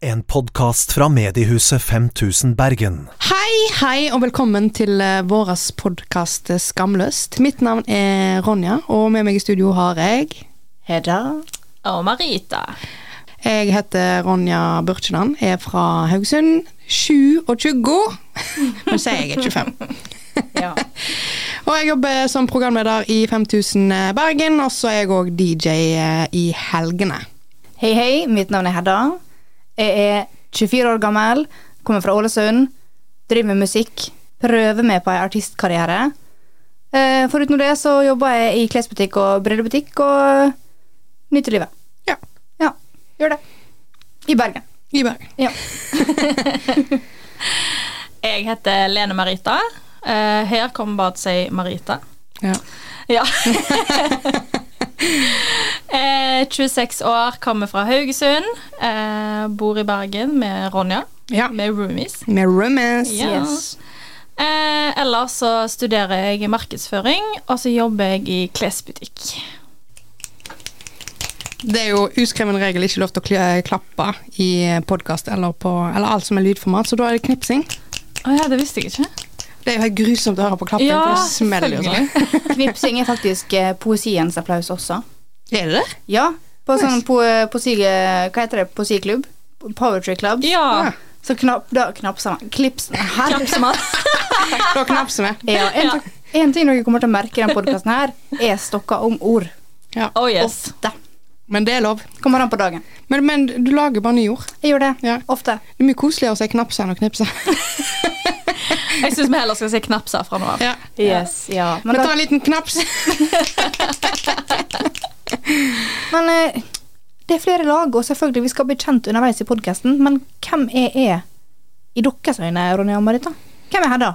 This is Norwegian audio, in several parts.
en podkast fra mediehuset 5000 Bergen. Hei, hei, og velkommen til eh, våras podkast Skamløst. Mitt navn er Ronja, og med meg i studio har jeg Hedda. Og Marita. Jeg heter Ronja Burkeland, er fra Haugesund. 27. Nå sier jeg er 25. Ja. Og jeg jobber som programleder i 5000 Bergen, og så er jeg òg DJ eh, i helgene. Hei, hei. Mitt navn er Hedda. Jeg er 24 år gammel, kommer fra Ålesund, driver med musikk, prøver meg på en artistkarriere. Eh, Foruten det så jobber jeg i klesbutikk og brillebutikk og nyter livet. Ja, Ja, gjør det. I Bergen. i Bergen. Ja. Jeg heter Lene Marita. Eh, her kommer bare til å si Marita. Ja. Ja. Eh, 26 år, kommer fra Haugesund. eh, bor i Bergen med Ronja. Ja. Med roomies. Med romance. Ja. Eh, ellers så studerer jeg markedsføring, og så jobber jeg i klesbutikk. Det er jo uskreven regel ikke lov til å kl- eh, klappe i podkast eller, på- eller alt som er lydformat, så da er det knipsing. Å ja, det visste jeg ikke. Det er jo helt grusomt å høre på klapping, Ja, for det smeller jo sånn. Knipsing er faktisk eh, poesiens applaus også. Er det det? Ja, på sånn po poesi... eh, Hva heter det? Poesiklubb? Poetry club. Ja. Så knapp... Da knapser man. Klipsen. Herre Da knapser vi. Ja, en, Ja. en ting dere kommer til å merke i denne podkasten, her, er stokker om ord. Ja. Oh yes. Da Men det er lov. kommer an på dagen. Men, men du lager bare nye ord. Jeg gjør det. Ja. Ofte. Det er mye koseligere å si knaps enn å knipse. Jeg syns vi heller skal si knapser fra nå av. Ja. Yes, ja. Men, Men ta da, en liten knaps. men eh, det er flere lag, og selvfølgelig vi skal bli kjent underveis i podkasten, men hvem er jeg i deres øyne, Ronja og Marita? Hvem er Hedda?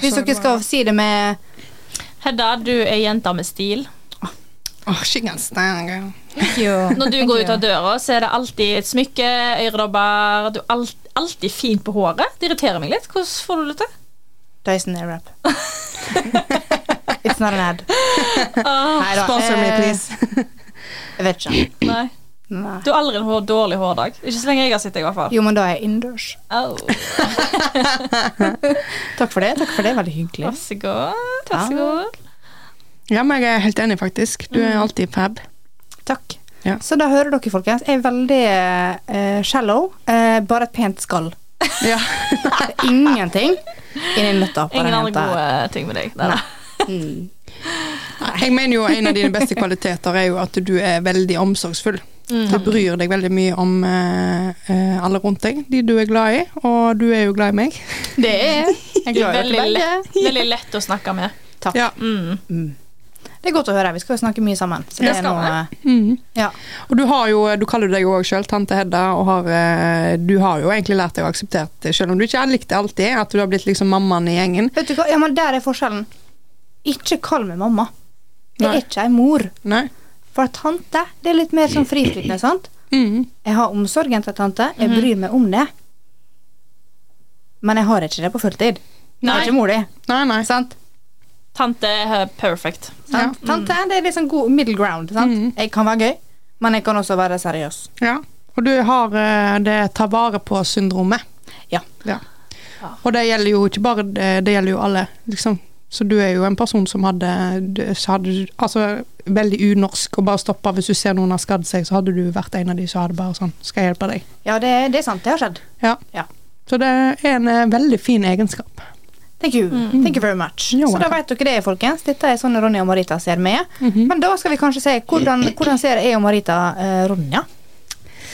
Hvis dere skal si det med Hedda, du er jenta med stil. Åh, skyggen stenger. Når du går ut av døra, så er det alltid et smykke, øredobber Du er alt, alltid fin på håret. Det irriterer meg litt. Hvordan får du det til? Dyson Airwrap. It's not an ad. Åh, Neida, Sponsor me, eh, please. Jeg vet ikke. nei. Nei. Du har aldri en hår, dårlig hårdag. Ikke så lenge jeg har sett deg, i hvert fall. Jo, men da er jeg innendørs. Au. Takk for det. takk for det, Veldig hyggelig. Vær så god. Vær så god. Ja, men jeg er helt enig, faktisk. Du er alltid fab. Takk. Ja. Så da hører dere, folkens. Jeg er veldig eh, shallow. eh, bare et pent skall. Ja. Det er ingenting inni nøtta på Ingen den andre jenta her. gode ting med deg. Nei, da. Jeg mener jo en av dine beste kvaliteter er jo at du er veldig omsorgsfull. Du bryr deg veldig mye om eh, eh, alle rundt deg, de du er glad i, og du er jo glad i meg. Det er jeg Du glad er i veldig dere lett, begge. veldig lett å snakke med. Takk. Ja. Mm. Det er godt å høre. Vi skal jo snakke mye sammen. Så Det det er skal noe, Mm. ja. Og du har jo, du kaller deg jo òg sjøl tante Hedda, og har, eh, du har jo egentlig lært deg å akseptere det, sjøl om du ikke har likt det alltid, at du har blitt liksom mammaen i gjengen. Vet du hva? Ja, men der er forskjellen. Ikke kall meg mamma. Jeg Nei. er ikke ei mor. Nei? For tante, det er litt mer sånn friflytende, sant? Mm. Jeg har omsorgen til tante. Jeg bryr meg om det. Men jeg har ikke det på fulltid. Jeg Nei. er ikke mor di. Nei, nei. Sant? Tante er perfect. Sant? Tante, det er liksom god middle ground. Sant? Jeg kan være gøy, men jeg kan også være seriøs. Ja. Og du har eh, det ta vare på-syndromet. Ja. Ja. Og det gjelder jo ikke bare det, det gjelder jo alle, liksom. Så du er jo en person som hadde, du- så hadde du- Altså veldig unorsk og bare stoppa hvis du ser noen har skadd seg, så hadde du vært en av de som hadde bare sånn Skal jeg hjelpe deg? Ja, det, det er sant. Det har skjedd. Ja. Ja. Så det er en eh, veldig fin egenskap. Thank you. Thank you very much. You're Så da welcome. vet dere det, folkens. Dette er sånn Ronja og Marita ser med. Men da skal vi kanskje se hvordan, hvordan ser jeg og Marita eh, Ronja.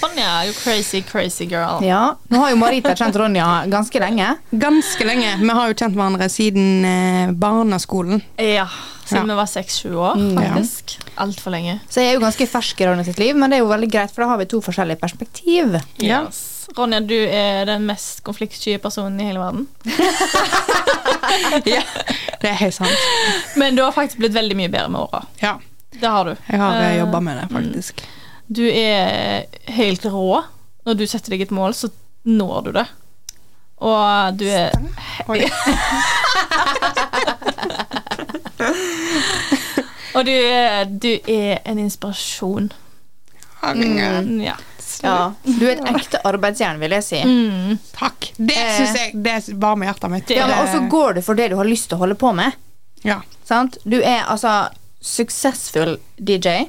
Ronja, you crazy, crazy girl. Ja, Nå har jo Marita kjent Ronja ganske lenge. Ganske lenge. Vi har jo kjent hverandre siden eh, barneskolen. Ja, siden Ja. vi var seks-sju år, Ja. faktisk. Altfor lenge. Så jeg er jo ganske fersk i Ronja sitt liv, men det er jo veldig greit, for da har vi to forskjellige perspektiv. Ja. Yes. Ronja, du er den mest konfliktsky personen i hele verden. ja. Det er helt sant. Men du har faktisk blitt veldig mye bedre med åra. Ja. Mm. Det har du. Jeg har uh, Eh, jobba med det, faktisk. Du er helt rå. Når du setter deg et mål, så når du det. Og du er Oi. Og du er, du er en inspirasjon. Herregud. Ja. Ja, du er et ekte arbeidsjern, vil jeg si. Mm. Takk. Det syns jeg det var med hjertet mitt. Det- Ja, men også går du for det du har lyst til å holde på med. Ja. Sant? Du er altså suksessfull DJ.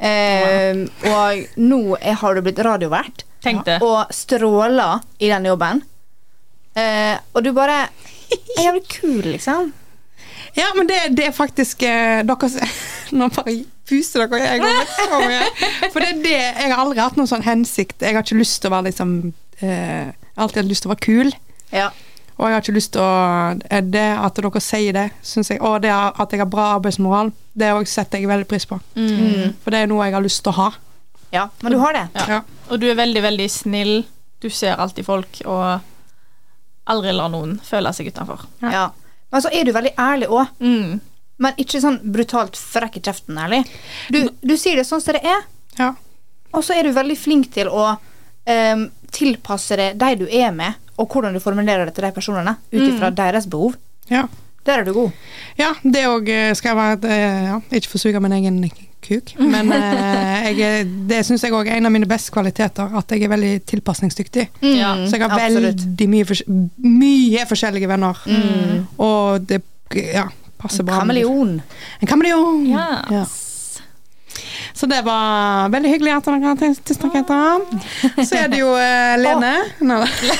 Eh, og nå er, har du blitt radiovert Tenk det. og stråler i den jobben. Eh, og du bare er jævlig kul, liksom. Ja, men det, det er faktisk eh, dere, s- Nå bare puser dere jeg går vekk fra meg. For det er det Jeg har aldri hatt noen sånn hensikt. Jeg har ikke lyst til å være liksom eh, Alltid hatt lyst til å være kul. Ja. Og jeg har ikke lyst til å eh, Det at dere sier det, syns jeg Og det er at jeg har bra arbeidsmoral, det har jeg setter jeg veldig pris på. For det er noe jeg har lyst til å ha. ja, men du har det. Ja. Ja. Og du er veldig, veldig snill. Du ser alltid folk, og aldri lar noen føle seg utenfor. Ja. Ja. Men så er du veldig ærlig òg. Mm. Men ikke sånn brutalt frekk i kjeften, ærlig. Du, du sier det sånn som det er, Ja. og så er du veldig flink til å ehm, tilpasse det de du er med, og hvordan du formulerer det til de personene, ut ifra deres behov. ja. Der er du god. Ja, det òg skal jeg være et, eh, ja, Ikke forsuge min egen kuk, men eh, jeg, er- det syns jeg òg er en av mine beste kvaliteter. At jeg er veldig tilpasningsdyktig. Ja, Mm, Så jeg har absolutt. veldig mye, fors mye forskjellige venner. Og det ja, passer bra. med- Kameleon. En kameleon! Yes. Ja. Så det var veldig hyggelig at dere har snakket om. Så er det jo eh, Lene. Nei, da.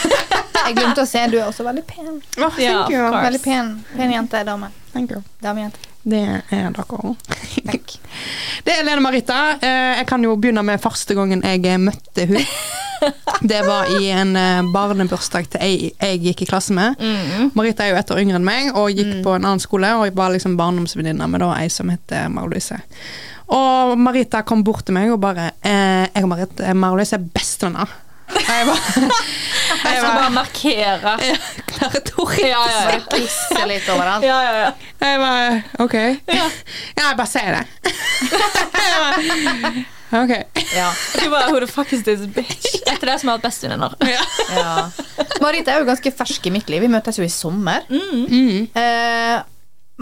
Jeg glemte å se, du er også veldig pen. Å, thank Ja, of you. course. Veldig pen, pen jente, dame. Thank you. Damejente. Det er dere òg. Det er Lene Marita. Eh, Jeg kan jo begynne med første gangen jeg eh, møtte hun. Det var i en eh, barnebursdag til ei jeg gikk i klasse med. mm. Marita er jo ett år yngre enn meg og gikk på en annen skole. Og jeg var liksom barndomsvenninne med da ei som het Marie-Louise. Og Marita kom bort til meg og bare eh, 'Jeg og Marit- eh, Marie-Louise er bestevenner'. Og Jeg bare, Jeg jeg skal bare bare markere. Klare tore. Ja, ja, ja. Klisser litt overalt. ja, ja, ja. Jeg bare OK. Ja, jeg bare sier det. Jeg bare, OK. Ja. Du bare, who the fuck is this bitch? Etter det som har hatt bestevenninner. Ja. Marita er jo ganske fersk i mitt liv. Vi møtes jo i sommer. Mm. Mm-hmm. Eh,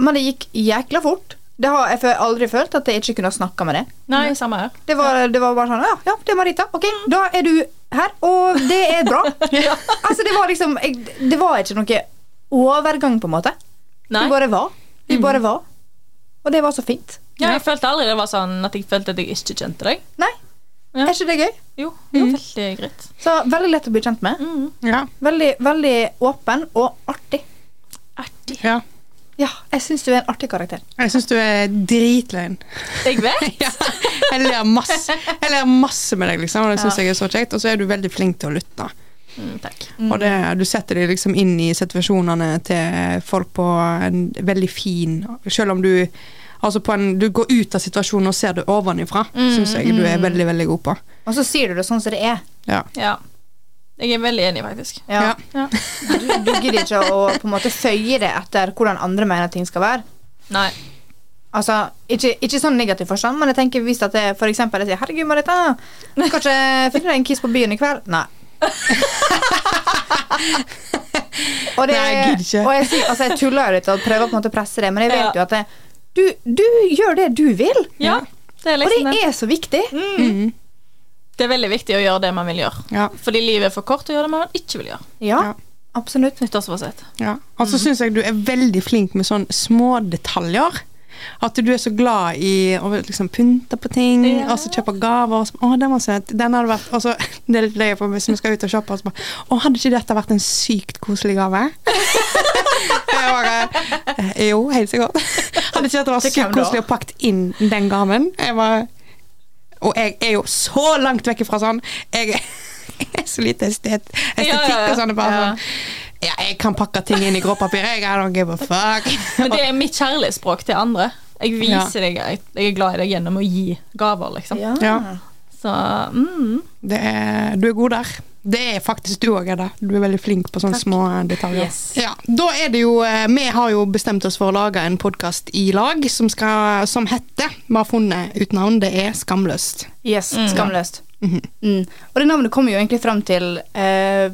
men det gikk jækla fort. Det har jeg fø- aldri følt at jeg ikke kunne ha snakka med det. Nei, samme her. Det var, det var bare sånn Ja, ja, det er Marita. Ok, da er du her, og det er bra. Altså, det var liksom jeg, Det var ikke noe overgang, på en måte. Nei. Mm. Vi bare var. Vi bare var. Og det var så fint. Ja, jeg følte aldri det var sånn at jeg følte at jeg ikke kjente deg. Mm. Nei, Ja. er ikke det gøy? Jo, det var veldig greit. Så veldig lett å bli kjent med. Mm. Ja. Veldig, veldig åpen og artig. Artig. ja. Ja, jeg syns du er en artig karakter. Jeg syns du er dritløgn. Jeg vet. Ja. Jeg ler masse, jeg ler masse med deg, liksom, og det syns jeg er så kjekt. Og så er du veldig flink til å lytte. Mm, takk. Og det, du setter deg liksom inn i situasjonene til folk på en veldig fin Selv om du Altså på en, du går ut av situasjonen og ser det ovenifra, syns jeg du er veldig, veldig god på. Og så sier du det sånn som det er. Ja. Ja. Jeg er veldig enig, faktisk. Ja. Ja. Du, du gidder ikke å på en måte føye det etter hvordan andre mener ting skal være. Nei. Altså, ikke, ikke sånn negativ forstand, men jeg tenker hvis at jeg for eksempel jeg sier 'Herregud, Marita, kanskje finner deg en kiss på byen i kveld?' Nei. og, det, Nei, jeg gidder ikke. og jeg, sier- altså, jeg tuller jo litt og prøver på en måte å presse det, men jeg Ja. vet jo at jeg, du, du gjør det du vil, Ja, det er og liksom det det. er så viktig. Mm. Mm-hmm. Det er veldig viktig å gjøre det man vil gjøre. Ja. Fordi livet er for kort å gjøre det man ikke vil gjøre. Ja, Ja. absolutt. Nyttårsforsett. Ja, og så syns jeg du er veldig flink med sånne små detaljer. At du er så glad i å liksom pynte på ting, Ja. og så kjøpe gaver. Og så, å, den var søt. Den hadde vært og så, Det er litt løye for meg hvis vi skal ut og shoppe. Og så bare, å, hadde ikke dette vært en sykt koselig gave? Jeg bare, «Eh, jo, helt sikkert. Hadde ikke dette vært Til hvem sykt da? koselig å pakke inn den gaven? Jeg bare, og jeg er jo så langt vekk ifra sånn. Jeg er så lite estet, estetikk Ja, ja, ja. og sånn. det er Bare, Ja. sånn, ja, jeg kan pakke ting inn i gråpapir. Jeg I don't give a fuck. Men det er mitt kjærlighetsspråk til andre. Jeg viser deg jeg, jeg er glad i deg gjennom å gi gaver, liksom. Ja. Ja. Så mm. Det er, du er god der. Det er faktisk du òg, Edda. Du er veldig flink på sånne små eh, detaljer. Yes. Ja, da er det jo, eh, Vi har jo bestemt oss for å lage en podkast i lag som, skal, som heter Vi har funnet ut navn. Det er Skamløst. Yes, skamløst. Mm. Og det navnet kom jo egentlig frem til eh,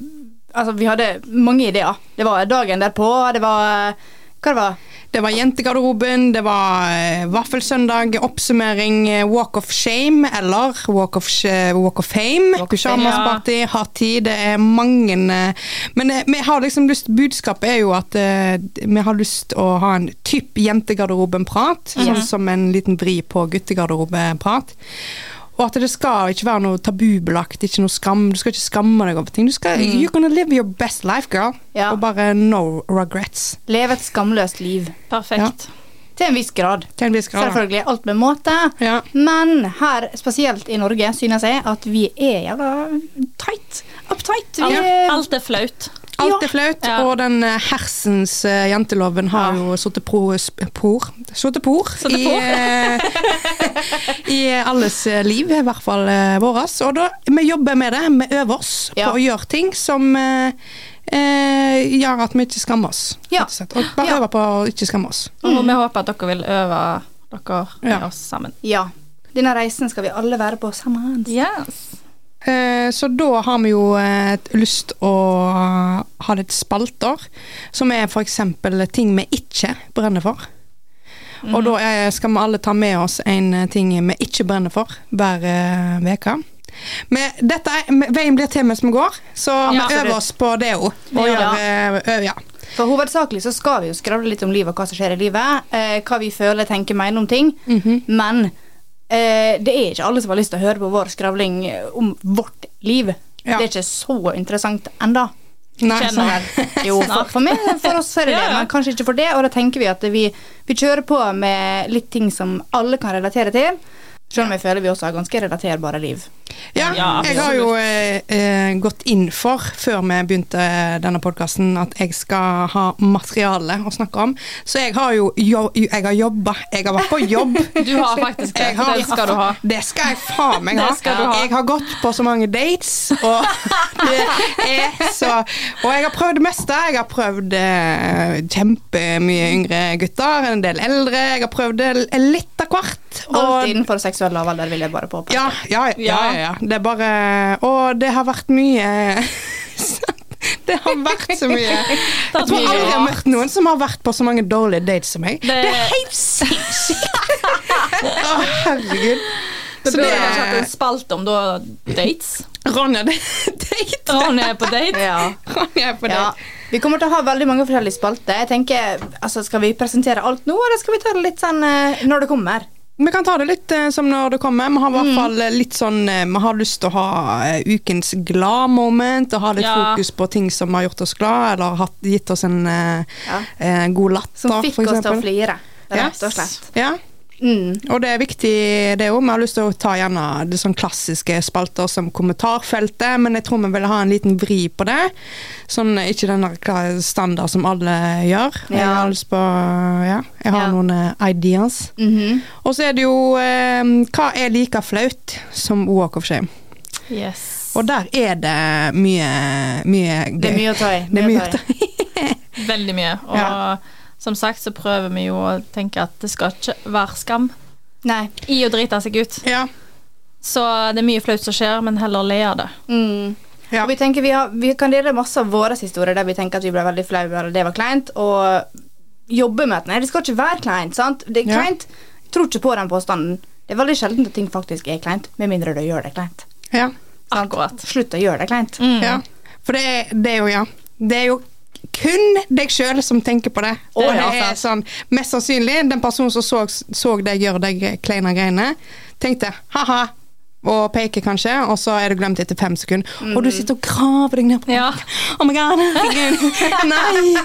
Altså, vi hadde mange ideer. Det var dagen derpå, det var Hva det var Det var jentegarderoben, det var eh, vaffelsøndag, oppsummering, eh, walk of shame eller walk of, sh- eh, walk of fame. Walk of fame, Pyjamasparty, hard tid, det er mange eh, Men eh, vi har liksom lyst, budskapet er jo at eh, vi har lyst å ha en typ jentegarderoben-prat, sånn som en liten vri på guttegarderobe-prat. Og at det skal ikke være noe tabubelagt, ikke noe skam. Du skal ikke skamme deg over ting. Du skal, You're gonna live your best life, girl. Mm. Ja. Og bare no regrets. Leve et skamløst liv. Perfekt. Til en viss grad. Til en viss grad. da. Selvfølgelig alt med måte. Ja. Men her, spesielt i Norge, synes jeg at vi er jævla tight. Uptight. Vi Alt, er, alt er flaut. Alt er flaut, Ja. Ah. og den eh, hersens eh, jenteloven har jo sittet por, Satt i, på. eh, i alles eh, liv, i hvert fall eh, våres. Og da, vi jobber med det, vi øver oss Ja. på å gjøre ting som eh, eh, gjør at vi ikke skammer oss. Ja. rett og slett. Og bare Ja. øver på å ikke skamme oss. Og vi håper at dere vil øve dere med Ja. oss sammen. ja. Denne reisen skal vi alle være på sammen. Yes. Eh, Så da har vi jo eh, lyst å ha litt spalter, som er f.eks. ting vi ikke brenner for. Mhm. Og da eh, skal vi alle ta med oss en eh, ting vi ikke brenner for hver eh, uke. Men dette er, men veien blir til mens vi går, så Ja, vi absolutt. øver oss på det òg. Ja. eh, Ja. For hovedsakelig så skal vi jo skravle litt om livet og hva som skjer i livet. Eh, hva vi føler, tenker, mener om ting. Mhm. Men eh, det er ikke alle som har lyst til å høre på vår skravling eh, om vårt liv. Ja. Det er ikke så interessant enda. Nei, sånn Kjenner så- jeg. Jo, for, for, meg, for oss er det det, Ja, ja. men kanskje ikke for det. Og da tenker vi at vi, vi kjører på med litt ting som alle kan relatere til. Selv om jeg føler vi også har ganske relaterbare liv. Ja, Ja, jeg har jo eh, eh, gått inn for, før vi begynte denne podkasten, at jeg skal ha materiale å snakke om. Så jeg har jo jo, Jeg har jobba. Jeg har vært på jobb. Du har faktisk det. Jeg har- Den skal du ha. Det skal jeg faen meg ha. Det skal du ha. Jeg har gått på så mange dates, og det er så Og jeg har prøvd det meste. Jeg har prøvd eh, kjempemye yngre gutter, en del eldre. Jeg har prøvd det litt av hvert. Alt innenfor seksuell lavalder vil jeg bare påpeke. Ja, ja, ja, ja, ja. Det er bare Å, det har vært mye Det har vært så mye. Det Jeg tror blir aldri jeg har rart. møtt noen som har vært på så mange dårlige dates som meg. Det, Det- er helt sinnssykt! Å, herregud. Vi Så burde det kanskje hatt en er spalt om da dates. Ronja det er date. Ronny er på date. Ja. Ronja er på Ja. date. Vi kommer til å ha veldig mange forskjellige spalter. Jeg tenker, altså, Skal vi presentere alt nå, eller skal vi ta det litt sånn eh, når det kommer? Vi kan ta det litt eh, som når det kommer. Vi har i Mm. hvert fall eh, litt sånn eh, Vi har lyst til å ha eh, ukens glad-moment, og ha litt Ja. fokus på ting som har gjort oss glad, eller hatt, gitt oss en eh, Ja. eh, god latter, Som fikk for oss til å eksempel. flire, Ja. rett og slett. Ja, Mm. og det er viktig det òg. Vi har lyst til å ta gjerne det sånn klassiske spalter som kommentarfeltet, men jeg tror vi vil ha en liten vri på det. Sånn eh, ikke den der kla- standard som alle gjør. Jeg Ja. har lyst på Ja, jeg har Ja. noen eh, ideas. Mhm. Og så er det jo eh, Hva er like flaut som walk of shame? Yes. Og der er det mye, mye gøy. Det er mye å ta i. Det er mye å ta i. ta i. Veldig mye. Og Ja. som sagt så prøver vi jo å tenke at det skal ikke være skam Nei. i å drite seg ut. Ja. Så det er mye flaut som skjer, men heller le av det. Mm. Ja. Og vi, tenker vi, har, vi kan dele masse av våre historier der vi tenker at vi ble veldig flaue eller det var kleint, og jobbe med at nei, det skal ikke være kleint. sant? Det er Ja. kleint. Jeg tror ikke på den påstanden. Det er veldig sjelden at ting faktisk er kleint, med mindre du gjør det kleint. Ja. Akkurat. Slutt å gjøre det kleint. ja. For det er, det er jo, ja. Det er jo kun deg sjøl som tenker på det. Og ja, det er sånn, mest sannsynlig den personen som så, så deg gjøre de kleine greiene, tenkte ha-ha. Og peker kanskje, og så er det glemt etter fem sekunder. Og du sitter og graver deg ned på Ja. Oh my god! herregud. nei!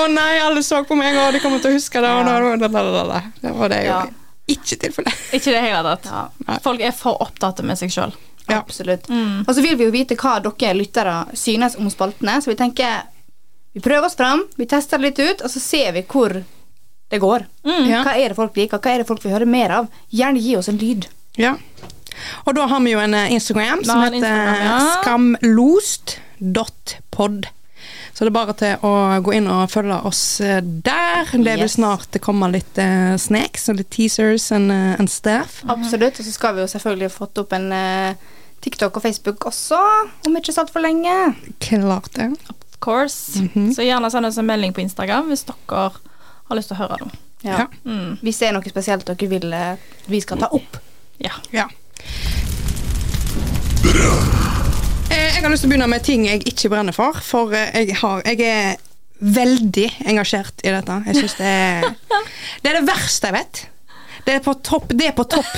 Å nei, alle så på meg, og de kommer til å huske det. Og, da, da, da, da, da. Det var det jo Ja. ikke tilfellet. Ikke det hele tatt. Ja. Nei. Folk er for opptatt med seg sjøl. Ja. Mm. Absolutt. Og så vil vi jo vite hva dere lyttere synes om spaltene, så vi tenker vi prøver oss fram, vi tester det litt ut, og så ser vi hvor det går. Mm. Ja. Hva er det folk liker, hva er det folk vil høre mer av? Gjerne gi oss en lyd. Ja. Og da har vi jo en eh, Instagram som har en heter Instagram, ja. skamlost.pod. Så det er bare til å gå inn og følge oss eh, der. Det vil Yes. snart komme litt eh, snacks og litt teasers and, eh, and stuff. Absolutt. Og så skal vi jo selvfølgelig ha fått opp en eh, TikTok og Facebook også, om ikke så altfor lenge. Klart det. Mhm. Of course. Så gjerne send oss en melding på Instagram hvis dere har lyst til å høre noe. Ja. Ja. Mm. Hvis det er noe spesielt dere vil eh, vi skal ta opp. Ja. Ja. Eh, Jeg har lyst til å begynne med ting jeg ikke brenner for, for eh, jeg, har, jeg er veldig engasjert i dette. Jeg synes det er Det er det verste jeg vet. Det er på topp, det er på topp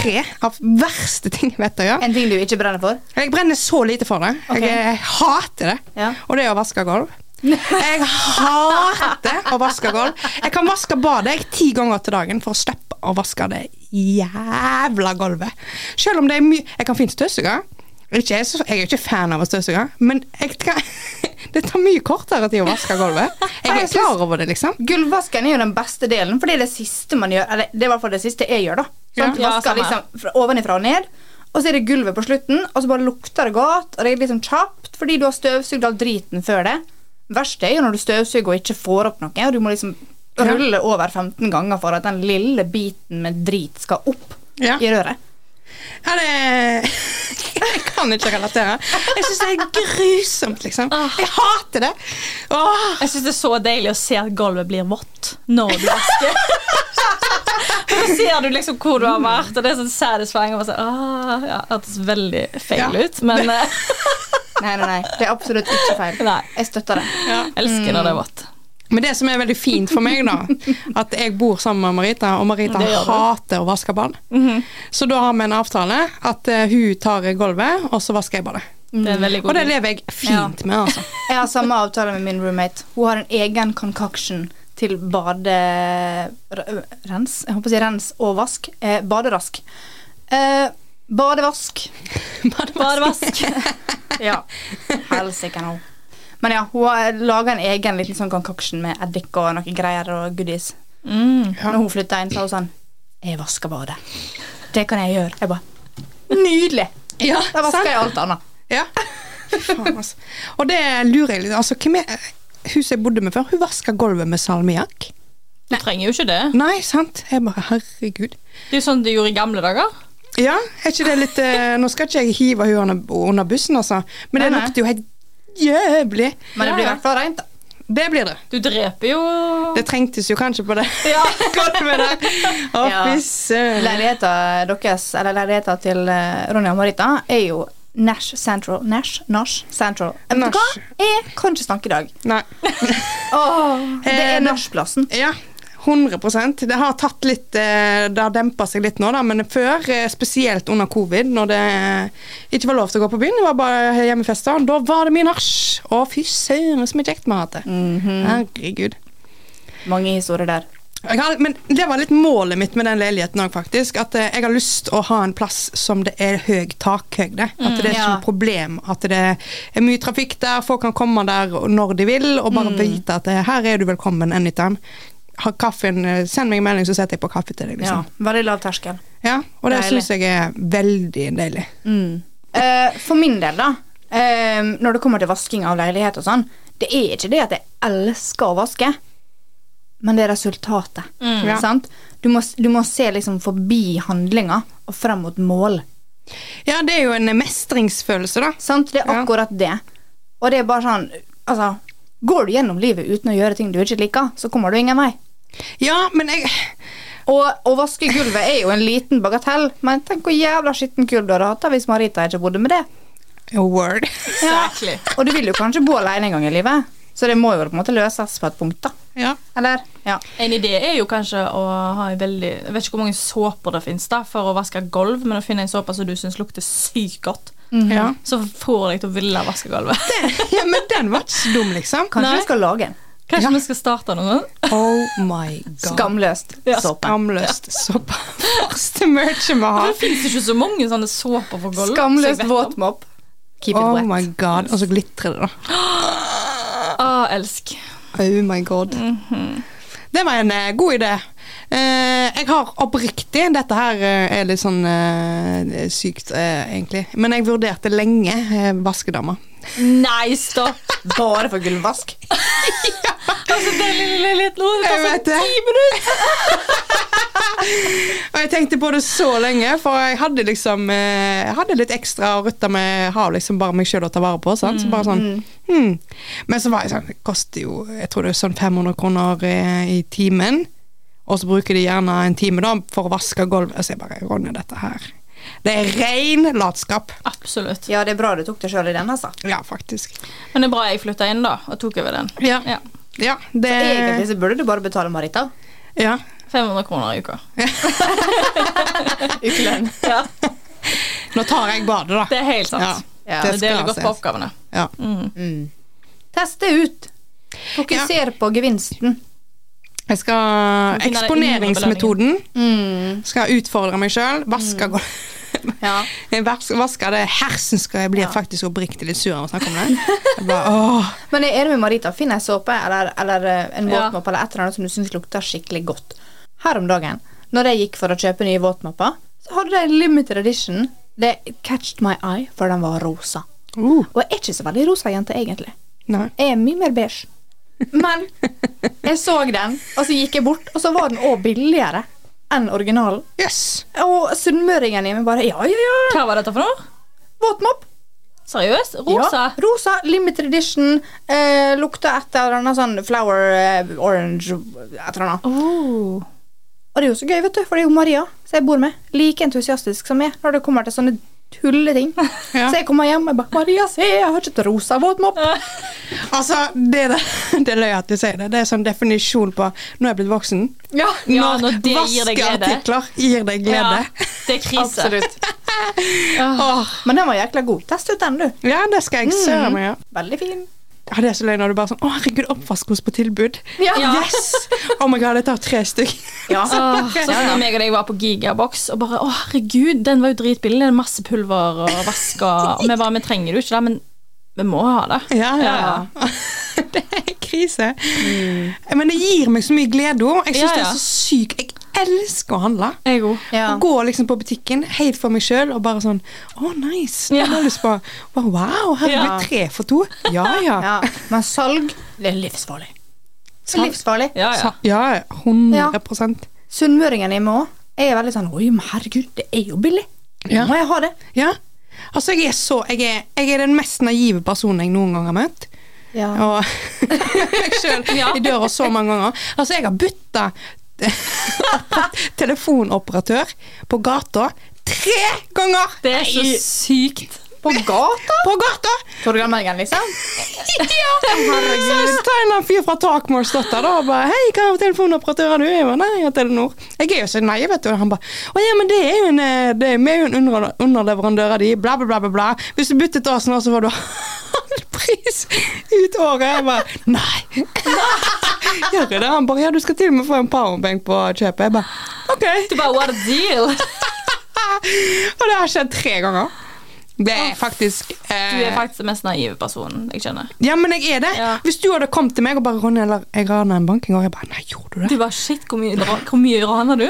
tre av verste ting jeg vet å gjøre. En ting du ikke brenner for. Jeg brenner så lite for det. Jeg, Ok. eh, hater det. Ja. Og det er å vaske gulv. Jeg hater å vaske gulv. Jeg kan vaske badet jeg ti ganger til dagen for å slippe å vaske det jævla gulvet. Selv om det er mye Jeg kan fint støvsuge. Ikke Jeg er så- jeg er jo ikke fan av å støvsuge, men jeg kan, det tar mye kortere tid å vaske gulvet. Jeg er Jeg synes- klar over det, liksom. Gulvvasken er jo den beste delen, for det er det siste man gjør. Eller det er i hvert fall det siste jeg gjør, da. Sånn, Ja, vasker samme. liksom fra- ovenifra og ned, og så er det gulvet på slutten, og så bare lukter det godt, og det er liksom kjapt, fordi du har støvsugd all driten før det. Verst er jo når du støvsuger og ikke får opp noe, og du må liksom rulle over 15 ganger for at den lille biten med drit skal opp Ja. i røret. Ja, det Jeg kan ikke relatere. Jeg syns det er grusomt, liksom. Jeg hater det. Åh. Jeg syns det er så deilig å se at gulvet blir vått når du vasker. For Da ser du liksom hvor du har vært, og det er sånn satisfying. Og bare sånn, ah, ja, det hørtes veldig feil Ja. ut, men eh, Nei, nei, nei. Det er absolutt ikke feil. Nei. Jeg støtter det. jeg elsker når det er vått. Men det som er veldig fint for meg, da, at jeg bor sammen med Marita, og Marita Det gjør du. hater å vaske bad. Så da har vi en avtale at eh, hun tar gulvet, og så vasker jeg badet. Mm. Det er en veldig Og god det lever jeg fint med, altså. Jeg har samme avtale med min roommate. Hun har en egen concoction til baderens Jeg håper å si rens og vask. Eh, baderask. Eh, badevask. Badevask. Ja. Helsike nå. Men ja, hun har laga en egen liten sånn concoction med eddik og noe greier og goodies. Mm. Når hun flytta inn, sa hun sånn Jeg vasker badet. Det kan jeg gjøre. Jeg bare Nydelig! Ja, Da vasker sant? jeg alt annet. Ja. Fy faen, altså. Og det lurer jeg litt Altså, hvem er Hun som jeg bodde med før, hun vaska gulvet med salmiakk. Du trenger jo ikke det. Nei, sant? Jeg bare Herregud. Det er jo sånn du gjorde i gamle dager. Ja, er ikke det litt eh, Nå skal ikke jeg hive hun under- under bussen, altså, men det Nei, nei. lukter jo helt jævlig. Men det blir i Ja, ja. hvert fall rent, da. Det blir det. Du dreper jo Det trengtes jo kanskje på det. Ja. Godt med det. Å, Ja. fy søren. Leiligheten deres, eller leiligheten til eh, Ronja og Marita, er jo Nash Central. Nash? Nash Central. Eh, Vet du hva? Nash. Jeg kan ikke snakke i dag. Nei. det Eh, er det- Nachplassen. Ja. 100 Det har tatt litt eh, Det har dempa seg litt nå, da, men før, eh, spesielt under covid, når det eh, ikke var lov til å gå på byen, det var bare hjemmefester, da var det mye nach. Å, fy søren, så mye kjekt vi har hatt det. Herregud. Mange historier der. Jeg har, men det var litt målet mitt med den leiligheten òg, faktisk. At eh, jeg har lyst å ha en plass som det er høy takhøyde. At det er ikke Mm, ja. noe problem at det er mye trafikk der, folk kan komme der når de vil, og bare Mm. vite at eh, her er du velkommen anytime. Ha kaffen, eh, send meg en melding, så setter jeg på kaffe til deg, Ja, liksom. veldig lav terskel. Ja, og det Deilig. syns jeg er veldig deilig. Eh, for min del, da, eh, når det kommer til vasking av leilighet og sånn, det er ikke det at jeg elsker å vaske, men det er resultatet. Ja. Sant? Du, må, du må se liksom forbi handlinga og frem mot mål. Ja, det er jo en eh, mestringsfølelse, da. Sant? Det er Ja. akkurat det. Og det er bare sånn Altså, går du gjennom livet uten å gjøre ting du ikke liker, så kommer du ingen vei. Ja, men jeg Og å vaske gulvet er jo en liten bagatell, men tenk hvor jævla skitten gulv du hadde hatt da hvis Marita ikke bodde med det. Word. Exactly. Og du vil jo kanskje bo alene en gang i livet, så det må jo på en måte løses på et punkt, da. Ja. Eller? Ja. En idé er jo kanskje å ha en veldig Jeg vet ikke hvor mange såper det finnes da for å vaske gulv, men å finne en såpe som du syns lukter sykt godt, Mhm. ja. så får deg til å ville vaske gulvet. ja, men den var ikke så dum, liksom. Kanskje Nei. vi skal lage en Kanskje vi skal starte noe sånt? Oh my god. skamløst Ja. såpe. Skamløst såpe. Første merchet vi har. Det fins ikke så mange sånne såper for gulv. Skamløst våtmopp. Keep it Oh wet. my god. Og så glitrer det, da. Ah, elsk. Oh my god. Det var en eh, god idé. Eh, jeg har oppriktig Dette her eh, er litt sånn eh, sykt, eh, egentlig. Men jeg vurderte lenge uh, vaskedama. Nei, stopp! Bare for gulvvask. Altså, det lille, lille, lille, nå, Altså, det Jeg passer vet det. ti minutter. Og jeg tenkte på det så lenge, for jeg hadde liksom eh, Jeg hadde litt ekstra å rutte med. Jeg Har liksom bare meg sjøl å ta vare på. Sant? Så bare sånn Mm. hmm. Men så var jeg sånn Det koster jo jeg tror det er sånn 500 kroner eh, i timen. Og så bruker de gjerne en time da for å vaske gulvet. Så jeg bare Ronja, dette her Det er ren latskap. Absolutt. Ja, det er bra du tok deg sjøl i den, altså. Ja, faktisk. Men det er bra jeg flytta inn, da, og tok over den. Ja. Ja. Ja, det Eh. Egentlig så burde du bare betale Marita. ja. 500 kroner i uka. Ukelønn. Ja, Nå tar jeg badet, da. det er helt sant. Ja. det Det skal deler godt på ses. oppgavene. Ja. Mm. Teste ut. Fokuser på gevinsten. Jeg skal finne den indre Eksponeringsmetoden. Mm. Skal utfordre meg sjøl. Mm. Vaske gulv. Ja. Jeg vers- vasker det hersen skal jeg bli faktisk oppriktig litt sur av å snakke om det. Jeg bare, åh. Men jeg er enig med Marita. Finn ei såpe eller, eller eh, en Ja. våtmappe eller et eller annet som du syns lukter skikkelig godt. Her om dagen, når jeg gikk for å kjøpe nye våtmapper, så hadde de limited edition. Det catched my eye, for den var rosa. Og jeg er ikke så veldig rosa jente, egentlig. Uh, Nei. Jeg er mye mer beige. Men jeg så den, og så gikk jeg bort, og så var den òg billigere enn originalen. Jøss. Og sunnmøringen i meg bare Ja, ja, ja. Hva var dette for noe? Våtmopp. Seriøst? Rosa? Ja, rosa, limited edition. Eh, lukta et eller annet sånn flower eh, orange et eller annet. Oh. Og det er jo så gøy, vet du, for det er jo Maria som jeg bor med. Like entusiastisk som meg når det kommer til sånne tulleting. Ja. Så jeg kommer hjem og jeg bare 'Maria, se, jeg har kjøpt rosa våtmopp'. Altså, det, er- det er løy at du sier det. Det er sånn definisjon på Nå er jeg blitt voksen. Ja, Ja, når det gir deg glede. vaskeartikler gir deg glede. Ja, det er krise. absolutt. Åh. Men den var jækla god. Test ut den, du. Ja, det skal Mm. jeg søren meg gjøre. Veldig fin. Ja, det er så løy når du bare sånn Å, herregud, oppvaskos på tilbud. Ja. Yes! Oh my god, jeg tar tre stykk. Ja. Åh, sånn som når meg og deg var på Gigabox og bare Å, herregud, den var jo dritbillig. Det er masse pulver og vasker. Og vi bare Vi trenger det jo ikke, da, men vi må ha det. Ja, ja. det er krise. Men det gir meg så mye glede også. Jeg syns Mm. Ja, det ja. er så sykt. Jeg elsker å handle. Jeg òg. Ja. Å gå liksom på butikken helt for meg sjøl og bare sånn Å, nice! Nå Ja. har jeg lyst på bare, Wow, her blir Ja. det tre for to. Ja, ja. ja. Men salg, det er livsfarlig. Det er Salg. livsfarlig. Ja, ja. Sa- ja 100 Sunnmøringen i meg òg er veldig sånn Oi, men herregud, det er jo billig. Ja. Må jeg ha det? Ja. Altså, jeg er så jeg er, jeg er den mest naive personen jeg noen gang har møtt. Ja. Og meg sjøl Ja. i døra så mange ganger. Altså, jeg har bytta telefonoperatør på gata tre ganger! Det er så Nei. sykt. På gata? På gata! Torgallmergen, liksom? Så så tar jeg en fyr fra Takmore-støtta da, og bare 'Hei, hva telefonoperatør har du?' Jeg bare 'Nei, jeg har Telenor'. Jeg er jo så nei, vet du. Og han bare 'Å ja, men det er jo en, eh, det er, vi er jo en under, underleverandør av de, bla, bla, bla, bla, bla. Hvis du byttet oss nå, så får du halv pris ut året. Jeg bare 'Nei'. Gjør jeg det? Han bare 'Ja, du skal til og med få en powerbank på kjøpet'. Jeg bare 'OK'. Du bare What a deal? Og det har skjedd tre ganger. Det er faktisk eh, Du er faktisk den mest naive personen jeg kjenner. Ja, men jeg er det. Ja. Hvis du hadde kommet til meg og bare 'Ronny, eller jeg raner en bank en gang', jeg bare 'Nei, gjorde du det?' Du bare Shit, hvor mye, dra- hvor mye raner du?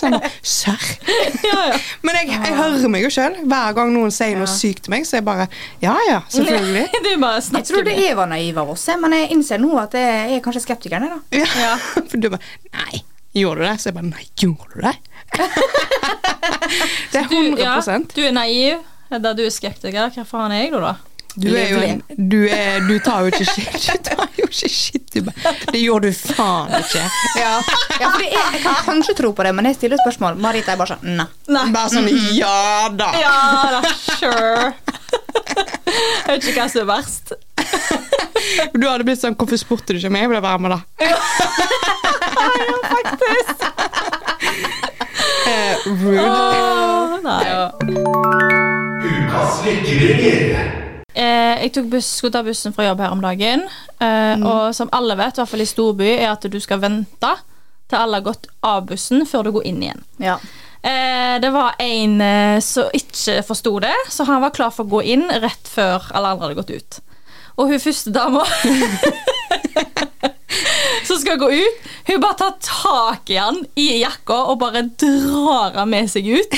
Sånn, Serr. ja, ja. Men jeg, jeg hører meg jo sjøl. Hver gang noen sier noe sykt til meg, så er jeg bare Ja ja, selvfølgelig. Du bare Jeg tror snakker det mye. jeg var naiv av oss, jeg, men jeg innser nå at jeg er kanskje skeptikeren. jeg, da. Ja. Ja. For du bare Nei, gjorde du det? Så jeg bare Nei, gjorde du det? det er 100 ja, du er naiv. Da du er skeptiker. Hva faen er jeg da, da? Du er jo en du, er, du tar jo ikke shit. Du tar jo ikke shit. Du bare Det gjorde du faen ikke. Ja, for jeg, jeg kan kanskje tro på det, men jeg stiller spørsmål. Marita er bare sånn Nei. Nei. Bare sånn Ja da. Ja da, sure. Jeg vet ikke hva som er verst. Du hadde blitt sånn Hvorfor spurte du ikke meg? Jeg ble varm av det. Eh, rude. Åh, nei. Ukas vekkeringer. Eh, jeg tok buss, skulle ta bussen fra jobb her om dagen. Eh, Og som alle vet, i hvert fall i storby, er at du skal vente til alle har gått av bussen før du går inn igjen. Ja. Eh, det var en eh, som ikke forsto det, så han var klar for å gå inn rett før alle andre hadde gått ut. Og hun første dama som skal gå ut, hun bare tar tak i han i jakka og bare drar han med seg ut.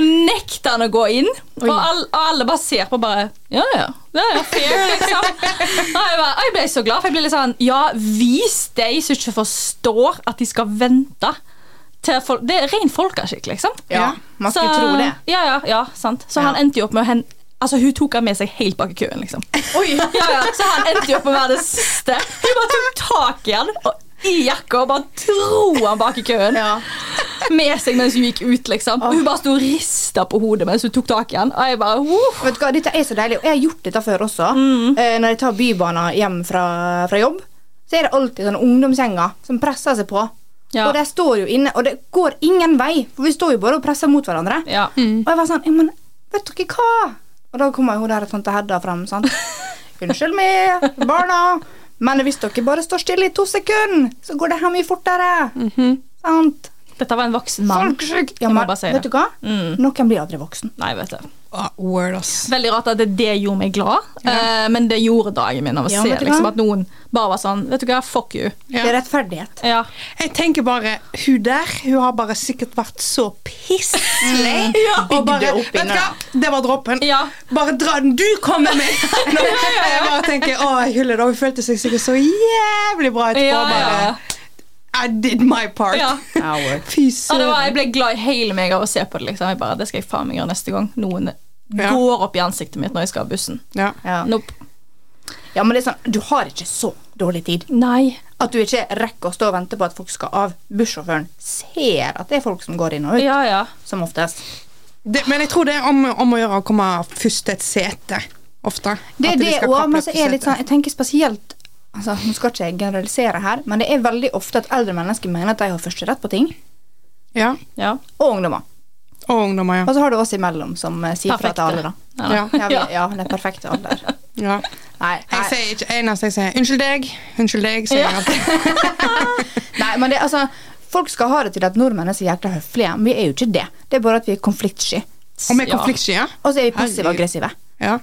nekter han å gå inn, og, Oi. all, og alle bare ser på bare Ja, ja. Det er jo fair, liksom. Og jeg, bare, jeg ble så glad, for jeg ble litt sånn Ja, vis de som ikke forstår at de skal vente. Til folk, det er ren folkeskikk, liksom. Ja, man skulle så, tro det. Ja, ja, ja, sant. Så Ja. han endte jo opp med å hen... Altså, Hun tok han med seg helt bak i køen, liksom. Ja, ja, så han endte jo opp med å være det siste. Hun bare tok tak i han og i jakka og bare dro han bak i køen Ja. med seg mens hun gikk ut, liksom. Og hun bare sto og rista på hodet mens hun tok tak i han. Og jeg bare Woof. Vet du hva, Dette er så deilig, og jeg har gjort dette før også. Eh, når jeg tar bybanen hjem fra, fra jobb, så er det alltid sånne ungdomsgjenger som presser seg på. Ja. Og de står jo inne, og det går ingen vei, for vi står jo bare og presser mot hverandre. Ja. Og jeg var sånn, «Ja, men vet dere hva? Og da kommer jo der tante Hedda frem, sant. Unnskyld meg, barna, men hvis dere bare står stille i to sekunder, så går det her mye fortere. Sant? Dette var en voksen mann. Folkesjuk. Ja, Mhm. Jeg må men bare si vet du det. Mm. hva? Noen blir aldri voksen. Nei, vet du. Ah, word, ass. Veldig rart at det, det gjorde meg glad, eh, men det gjorde dagen min av å Ja, se vet du hva? liksom, at noen bare var sånn Vet du hva, fuck you. Ja. Det er rettferdighet. Ja. Jeg tenker bare, hun der Hun har bare sikkert vært så pisslig. Og bare, Mm. Bygde vet opp du inne. hva, det var dråpen. Ja. Bare dra den, du kommer med! Nå, jeg bare tenker, å, jeg hyller det. Hun følte seg sikkert så jævlig bra etterpå. Ja, ja. Bare, I did my part. ja. Fy Og det var, jeg søren. ble glad i hele meg av å se på det. Liksom. Jeg bare, det skal jeg faen meg gjøre neste gang. Noen Ja. går opp i ansiktet mitt når jeg skal av bussen. Ja. Ja. Nope. ja, men det er sånn, du har ikke så dårlig tid. Nei. At du ikke rekker å stå og vente på at folk skal av. Bussjåføren ser at det er folk som går inn og ut, Ja, ja. som oftest. Det, men jeg tror det er om, om å gjøre å komme først til et sete, ofte. Det At er de det skal også, kappe men opp så til er det litt setet. sånn Jeg tenker spesielt altså, Nå skal ikke jeg generalisere her, men det er veldig ofte at eldre mennesker mener at de har førsterett på ting. Ja. ja. Og ungdommer. Og ungdommer, ja. sånn- Og så har du oss imellom som eh, sier fra Perfekte. til alle, da. Ja. Ja. Ja, vi, ja, det er perfekte alder. ja. Nei, Jeg nei, sier ikke eneste jeg sier. 'Unnskyld deg', 'unnskyld deg', sier jeg alltid. nei men det, altså Folk skal ha det til at nordmenn er så jækla høflige. men Vi er jo ikke det. Det er bare at vi er konfliktsky. Og med konfliktsky, ja. Og så er vi passive og aggressive. Ja.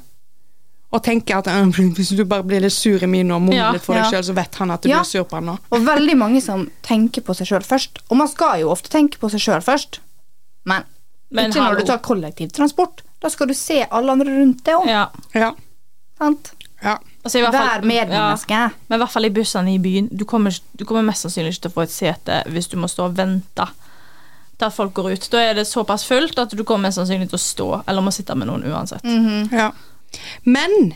Og tenker at øh, hvis du bare blir litt sur i mine og mumler Ja, litt for deg ja. sjøl, så vet han at du Ja. blir sur på han nå. Og veldig mange som tenker på seg sjøl først. Og man skal jo ofte tenke på seg sjøl først, men, Men ikke hallo. når du tar kollektivtransport. Da skal du se alle andre rundt deg òg. Ja. Ja. sant? Ja. Altså, i hvert fall- Vær medmenneske. Ja. Men i hvert fall i bussene i byen. Du kommer, ikke- du kommer mest sannsynlig ikke til å få et sete hvis du må stå og vente til at folk går ut. Da er det såpass fullt at du kommer mest sannsynlig til å stå eller må sitte med noen uansett. Mhm. Mm. ja. Men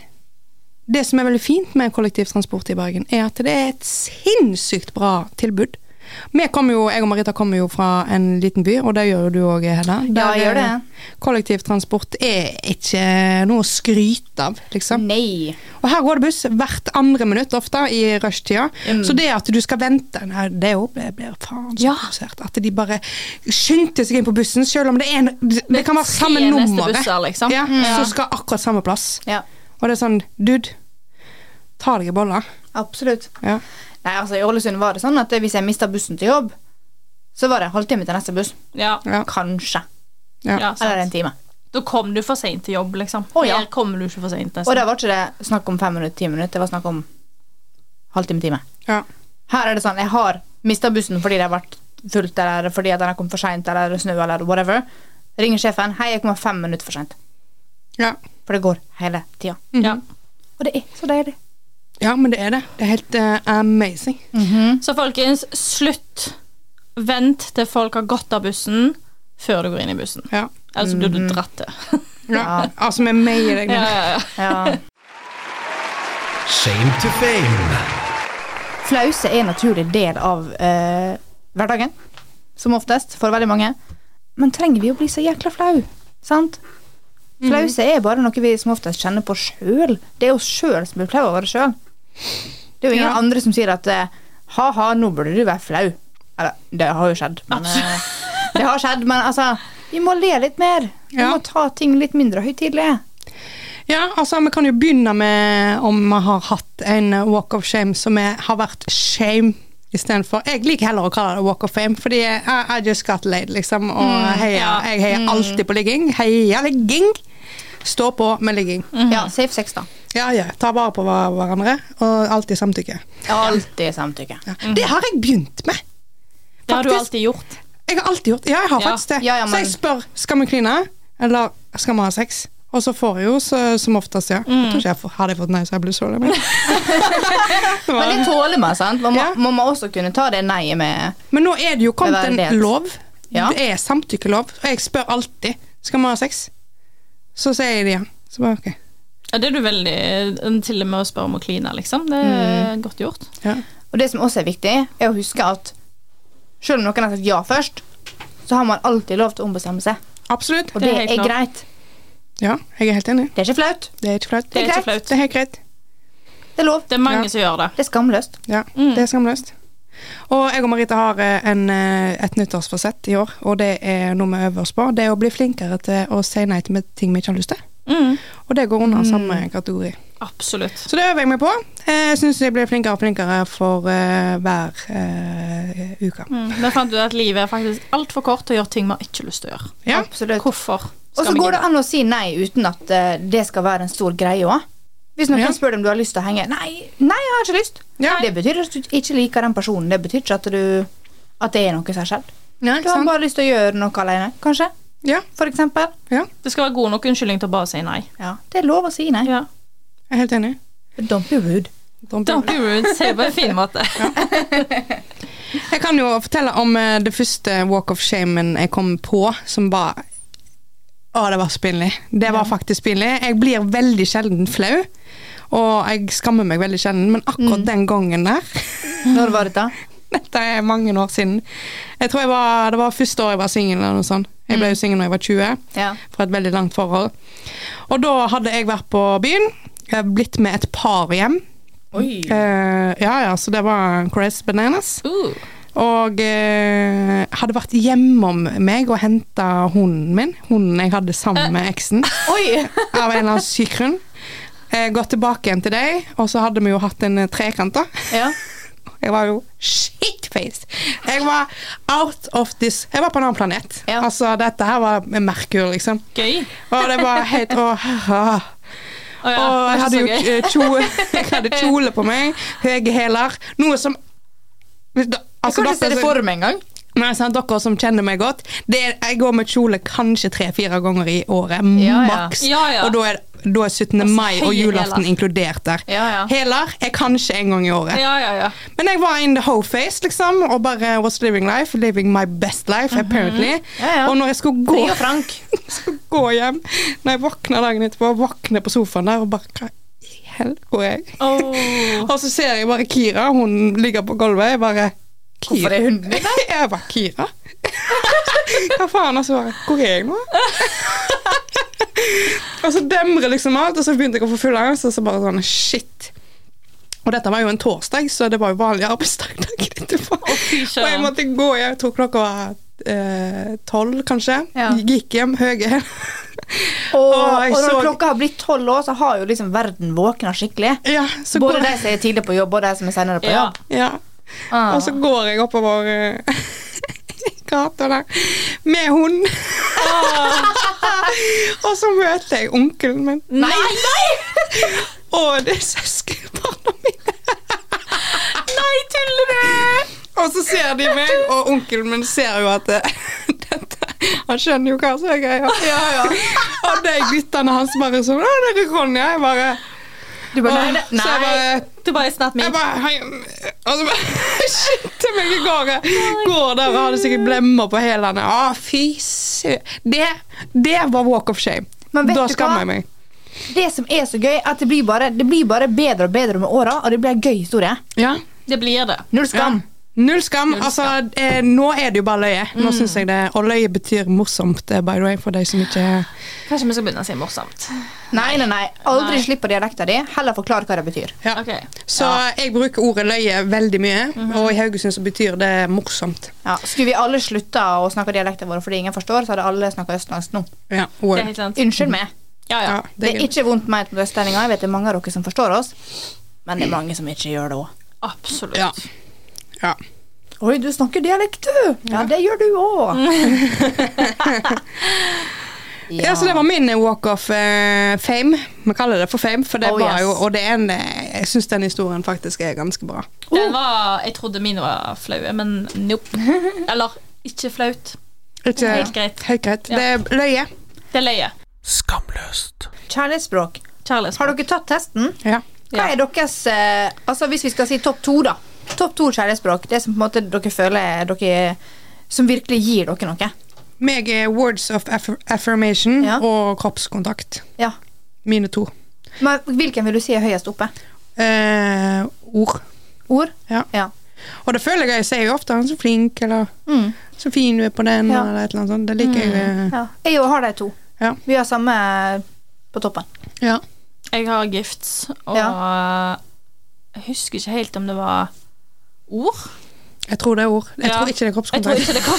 det som er veldig fint med kollektivtransport i Bergen, er at det er et sinnssykt bra tilbud. Vi kommer jo, jeg og Marita kommer jo fra en liten by, og det gjør jo du òg, Hedda. Ja, Der, jeg gjør det. eh, Kollektivtransport er ikke noe å skryte av, liksom. Nei. Og her går det buss hvert andre minutt ofte i rushtida. Så det at du skal vente nei, Det er jo det blir faen så Mm. Ja. provosert. At de bare skyndte seg inn på bussen, selv om det er en Det kan være tre samme neste nummeret. busser, liksom. ja, Mm. Så skal akkurat samme plass. Ja, Og det er sånn Dude, ta deg i bolla. absolutt. Ja. Nei, altså I Ålesund var det sånn at hvis jeg mista bussen til jobb, så var det en halvtime til neste buss. Ja. Ja. Kanskje. Ja. Ja, sant. Eller en time. Da kom du for seint til jobb, liksom. Å, ja. Her kommer du ikke for seint. Og da var ikke det snakk om fem minutter, ti minutter. Det var snakk om halvtime-time. Ja. Her er det sånn, jeg har mista bussen fordi det har vært fullt, eller fordi at den har kommet for seint, eller snø, eller whatever. Ringer sjefen. 'Hei, jeg kommer fem minutter for seint.' Ja. Mhm. For det går hele tida. Ja. Og det er så deilig. ja, men det er det. Det er helt eh, amazing. Så folkens, slutt. Vent til folk har gått av bussen før du går inn i bussen. Ja. Ellers blir Mhm. du dratt til. ja. Altså, vi meier deg nå. Ja, ja, ja. Ja. Shame to fame. Flause er en naturlig del av eh, hverdagen, som oftest, for veldig mange. Men trenger vi å bli så jækla flau? Sant? Mhm. Flause er bare noe vi som oftest kjenner på sjøl. Det er oss sjøl som blir flau over det sjøl. Det er jo ingen Ja. andre som sier at eh, ha-ha, nå burde du være flau. Eller, det har jo skjedd, men eh, Det har skjedd, men altså Vi må le litt mer. Vi Ja. må ta ting litt mindre høytidelig. Ja, altså vi kan jo begynne med om vi har hatt en eh, walk of shame som er, har vært shame istedenfor. Jeg liker heller å kalle det walk of fame, fordi I, I just got laid, liksom. Og heia, ja. jeg heier alltid på ligging. Heia ligging! Stå på med ligging. Ja, safe sex, da. Ja, ja. Ta vare på hver- hverandre, og alltid samtykke. Alltid samtykke. Ja. Det har jeg begynt med. Det har du Faktisk. alltid gjort. Jeg har alltid gjort Ja, jeg har Ja. faktisk det. Ja, ja, Så men- jeg spør skal vi kline, eller skal vi ha sex? Og så får jeg jo så, som oftest ja. Jeg tror ikke jeg får, hadde jeg fått nei, så jeg ble så lei meg. Det var- Men det tåler man, sant? Man må, Ja. må man også kunne ta det nei-et med Men nå er det jo kommet Beverdighet. en lov. Ja. Det er samtykkelov. Og jeg spør alltid skal vi ha sex. Så sier de ja. Så bare, ok. Ja, det er du veldig Til og med å spørre om å kline, liksom. Det er godt gjort. Ja. Og det som også er viktig, er å huske at selv om noen har sagt ja først, så har man alltid lov til å ombestemme seg. Absolutt. Og Det det, er er, helt klart. greit. Ja, jeg er helt enig. Det er ikke flaut. Det er ikke flaut. Det er ikke flaut. Det er helt greit. Det er lov. Det er mange Ja. som gjør det. Mm. Det er skamløst. Ja, Det er skamløst. Og jeg og Marita har eh, en, eh, et nyttårsforsett i år, og det er noe vi øver oss på. Det er å bli flinkere til å si nei til med ting vi ikke har lyst til. Mm. Og det går under samme kategori. Absolutt. Så det øver jeg meg på. Eh, Jeg syns jeg blir flinkere og flinkere for eh, hver eh, uke. Mm. Men fant du at livet er faktisk altfor kort til å gjøre ting man ikke har lyst til å gjøre. Ja. Absolutt. Hvorfor? Og så går det an å si nei uten at eh, det skal være en stor greie òg. Hvis noen Ja. spør deg om du har lyst til å henge Nei, nei, jeg har ikke lyst. Ja. Det betyr at du ikke liker den personen. Det betyr ikke at, du, at det er noe særskilt. Ja, Du har bare lyst til å gjøre noe alene, kanskje. Ja, For eksempel. Det skal være god nok unnskyldning til å bare si nei. Ja, det er lov å si nei. Ja. jeg er helt enig. Don't be rude. Don't be Don't be rude. Si det på en fin måte. rude. Jeg kan jo fortelle om eh, det første walk of shamen jeg kom på, som var Å, det var så pinlig. Det var faktisk pinlig. Jeg blir veldig sjelden flau, og jeg skammer meg veldig sjelden, men akkurat den gangen der Når var dette? Dette er mange år siden. Jeg tror jeg var, Det var første år jeg var singel. eller noe sånt. Jeg ble jo singel da jeg var 20. Ja. fra et veldig langt forhold. Og da hadde jeg vært på byen, jeg hadde blitt med et par hjem. Oi. Eh, ja, ja, så det var crazy bananas. Uh. Og eh, hadde vært hjemom meg og henta hunden min, hunden jeg hadde sammen med eksen, Oi! av en eller annen syk grunn. Eh, gått tilbake igjen til deg, og så hadde vi jo hatt en eh, trekant, da. Ja. Jeg var jo shitfaced. Jeg var out of this Jeg var på en annen planet. Ja. Altså, dette her var Merkur, liksom. Gøy. Og det var helt åh, Å ja, og jeg det var hadde, jo, ikke så gøy. eh, kjole, jeg hadde kjole på meg, høye hæler, noe som Hvis da- altså, Kan du se dere, det som, for meg engang? nei, sant, dere som kjenner meg godt, det er, jeg går med kjole kanskje tre-fire ganger i året, Ja, ja. maks. Ja, ja. Og da er, da er 17. Altså, mai og høye julaften hæler. inkludert der. Ja, ja. Hæler er kanskje en gang i året. Ja, ja, ja. Men jeg var in the whole face, liksom, og bare was living life, living my best life, apparently. Mhm. Ja, ja. Og når jeg skulle gå Fri og frank. skal gå hjem Når jeg våkner dagen etterpå, våkner på sofaen der og bare Hva i helvete hvor er jeg? Åh. Og så ser jeg bare Kira, hun ligger på gulvet. Jeg bare Kira? Hvorfor er hunden din der? Jeg bare Kira? Hva faen? Og så bare Hvor er jeg nå? og så demrer liksom alt, og så begynte jeg å få full angst, og så bare sånn Shit. Og dette var jo en torsdag, så det var jo vanlig arbeidsdag dagen etterpå. fy og jeg søren. måtte gå, jeg tror klokka var eh, tolv, kanskje. Ja. Gikk hjem høye. Og, Å, jeg og når så- klokka har blitt tolv år, så har jo liksom verden våkna skikkelig. ja, så går, Både de som er tidlig på jobb, og de som er senere på Ja. jobb. ja. Ah. Og så går jeg oppover eh, gata der med hund. og så møter jeg onkelen min Nei! og det er søskenbarna mine. Nei, tuller du? Og så ser de meg, og onkelen min ser jo at eh, dette, Han skjønner jo hva som er greia. ja, ja. Og de guttene hans bare sånn 'Å, det er Ronja.' Jeg bare, Du bare, nei, det- Så jeg nei. bare Du bare snart Jeg min. bare hei, Og så bare skyndte meg i går. Jeg går der og hadde sikkert blemmer på hælene. Å, fy sø... Det, det var walk of shame. Men vet Da du hva? skammer jeg meg. Det som er så gøy, er at det blir bare, det blir bare bedre og bedre med åra, og det blir en gøy historie. Ja. Det blir det. Null skam. Null skam. Null Altså, eh, nå er det jo bare løye. Nå synes jeg det, Og løye betyr morsomt, eh, by the way, for de som ikke Kanskje vi skal begynne å si morsomt. Nei, nei, nei. Aldri Nei. slipp på dialekten din. Heller forklar hva det betyr. ja. Ok. Så jeg bruker ordet løye veldig mye, og i Haugesund så betyr det morsomt. Ja. Skulle vi alle slutta å snakke dialekten vår fordi ingen forstår, så hadde alle snakka østlandsk nå. Ja, Det word. er helt sant. Unnskyld meg. Ja, ja. Ja, Det det er er gøy. ikke vondt ment mot østlendinger. Jeg vet det er mange av dere som forstår oss, men det er mange som ikke gjør det òg. Absolutt. Ja. ja. Oi, du snakker dialekt, du! Ja, det gjør du òg. Ja. så det var min walk of eh, fame. Vi kaller det for fame, for det Oh, var yes. jo Og det er en eh, Jeg syns den historien Oh. faktisk er ganske bra. Den var Jeg trodde mine var flaue, men nope. Eller Ikke flaut. Ikke, Helt greit. Helt greit. Ja. Det er løye. Det er løye. Skamløst. Kjærlighetsspråk. Kjærlighetsspråk. Har dere tatt testen? Ja. Hva er deres eh, Altså Hvis vi skal si topp to, da. Topp to kjærlighetsspråk. Det som på en måte dere føler dere Som virkelig gir dere noe. Meg er words of aff affirmation Ja. og kroppskontakt. Ja. Mine to. Men hvilken vil du si er høyest oppe? Eh, ord. Ord? Ja. Ja. Og det føler jeg jeg sier jo ofte. Han er så flink, eller Mm. så fin du er på den, Ja. Mm. eller et eller annet sånt. Det liker jeg. eh, ja. Jeg jo har de to. Ja. Vi har samme på toppen. Ja. Jeg har gifts, og jeg husker ikke helt om det var ord. Jeg tror det er ord. Jeg Ja. tror ikke det er Jeg tror kroppskontakt. ikke det kom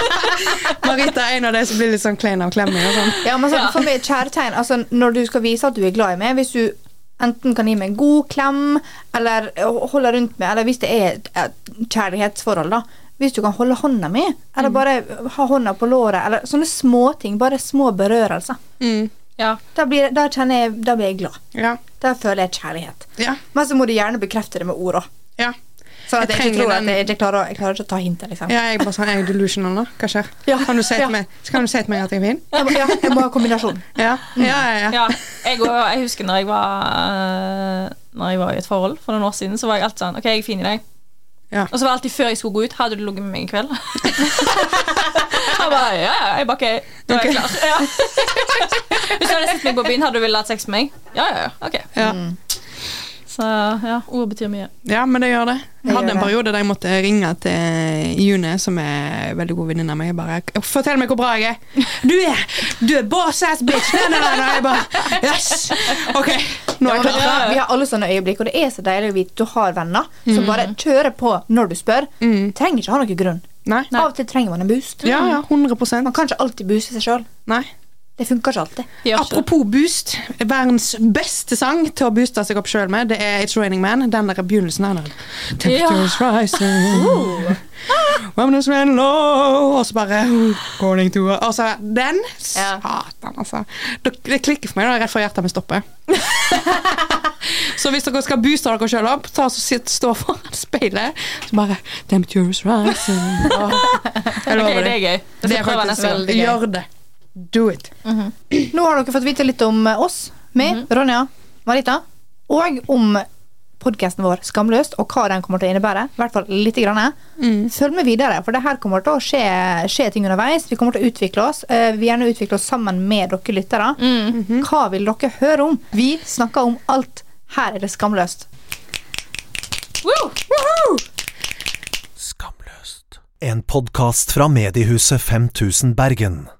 Marita er en av de som blir litt sånn klein av klemming og sånn. Ja, men sånn, Ja. For meg er kjærtegn altså, Når du skal vise at du er glad i meg Hvis du enten kan gi meg en god klem Eller eh, holde rundt meg Eller hvis det er et, et kjærlighetsforhold da Hvis du kan holde hånda mi Mm. Eller bare ha hånda på låret Eller sånne små ting, bare små berørelser Mm. Ja. Da blir, da kjenner jeg, da blir jeg glad Ja. Da føler jeg kjærlighet Ja. Men så må du gjerne bekrefte det med ord også Ja. Sånn at Jeg jeg, ikke trenger tror den- at jeg ikke klarer, å- jeg klarer ikke å ta hintet liksom ja, jeg er bare sånn, jeg er delusional nå. Hva skjer? Ja. Kan du si Ja. til meg, kan du si til meg at jeg er fin? Jeg må, ja, jeg må ha kombinasjon Ja. Ja, ja, ja. ja. Jeg, og, jeg husker når jeg var eh, Når jeg var i et forhold for noen år siden, så var jeg alltid sånn OK, jeg er fin i dag. Ja. Og så var det alltid før jeg skulle gå ut Hadde du ligget med meg i kveld? jeg bare, ja, ja, jeg bare, ok, da er jeg klar. Ja. Hvis du hadde sett meg på byen, hadde du villet hatt sex med meg? Ja, ja, ja. Ok. Ja. Mm. Så ja, ord betyr mye. Ja, men det gjør det. Det Jeg hadde en gjør det. periode der jeg måtte ringe til June, som er en veldig god venninne av meg. Jeg bare 'Fortell meg hvor bra jeg er.' 'Du er du er boss ass bitch!' Nei, nei, nei, nei. Jeg bare 'Yes! OK, nå Ja, er jeg men vet du klar.' hva? Vi har alle sånne øyeblikk, og det er så deilig å vite du har venner som bare kjører på når du spør. Mm. Trenger ikke ha noen grunn. Nei. Av og til trenger man en boost. Ja, ja. 100 Man kan ikke alltid booste seg sjøl. Nei. Det funker ikke alltid. De gjør ikke det. Apropos boost. Verdens beste sang til å booste seg opp sjøl med, det er It's Raining Man. Den der begynnelsen her. den. Temperatures rising. Uh. Women's men low. Og så bare oh, Calling to Og så den. Ja. Satan, altså. Det det klikker for meg da, rett før hjertet mitt stopper. så hvis dere skal booste dere sjøl opp, ta så sitt, stå foran speilet så bare Temperatures rising. Åh. Jeg Ok, lover det er deg. gøy. Jeg Det skal er prøve faktisk neste gang. veldig gøy. Gjør det. Do it. Nå har dere fått vite litt om eh, oss, meg, Ronja, Marita, og om podkasten vår Skamløst, og hva den kommer til å innebære. I hvert fall lite grann. Følg med videre, for det her kommer til å skje, skje ting underveis. Vi kommer til å utvikle oss. Eh, Vi vil gjerne utvikle oss sammen med dere lyttere. Hva vil dere høre om? Vi snakker om alt. Her er det skamløst. Woo! Skamløst. En podkast fra mediehuset 5000 Bergen.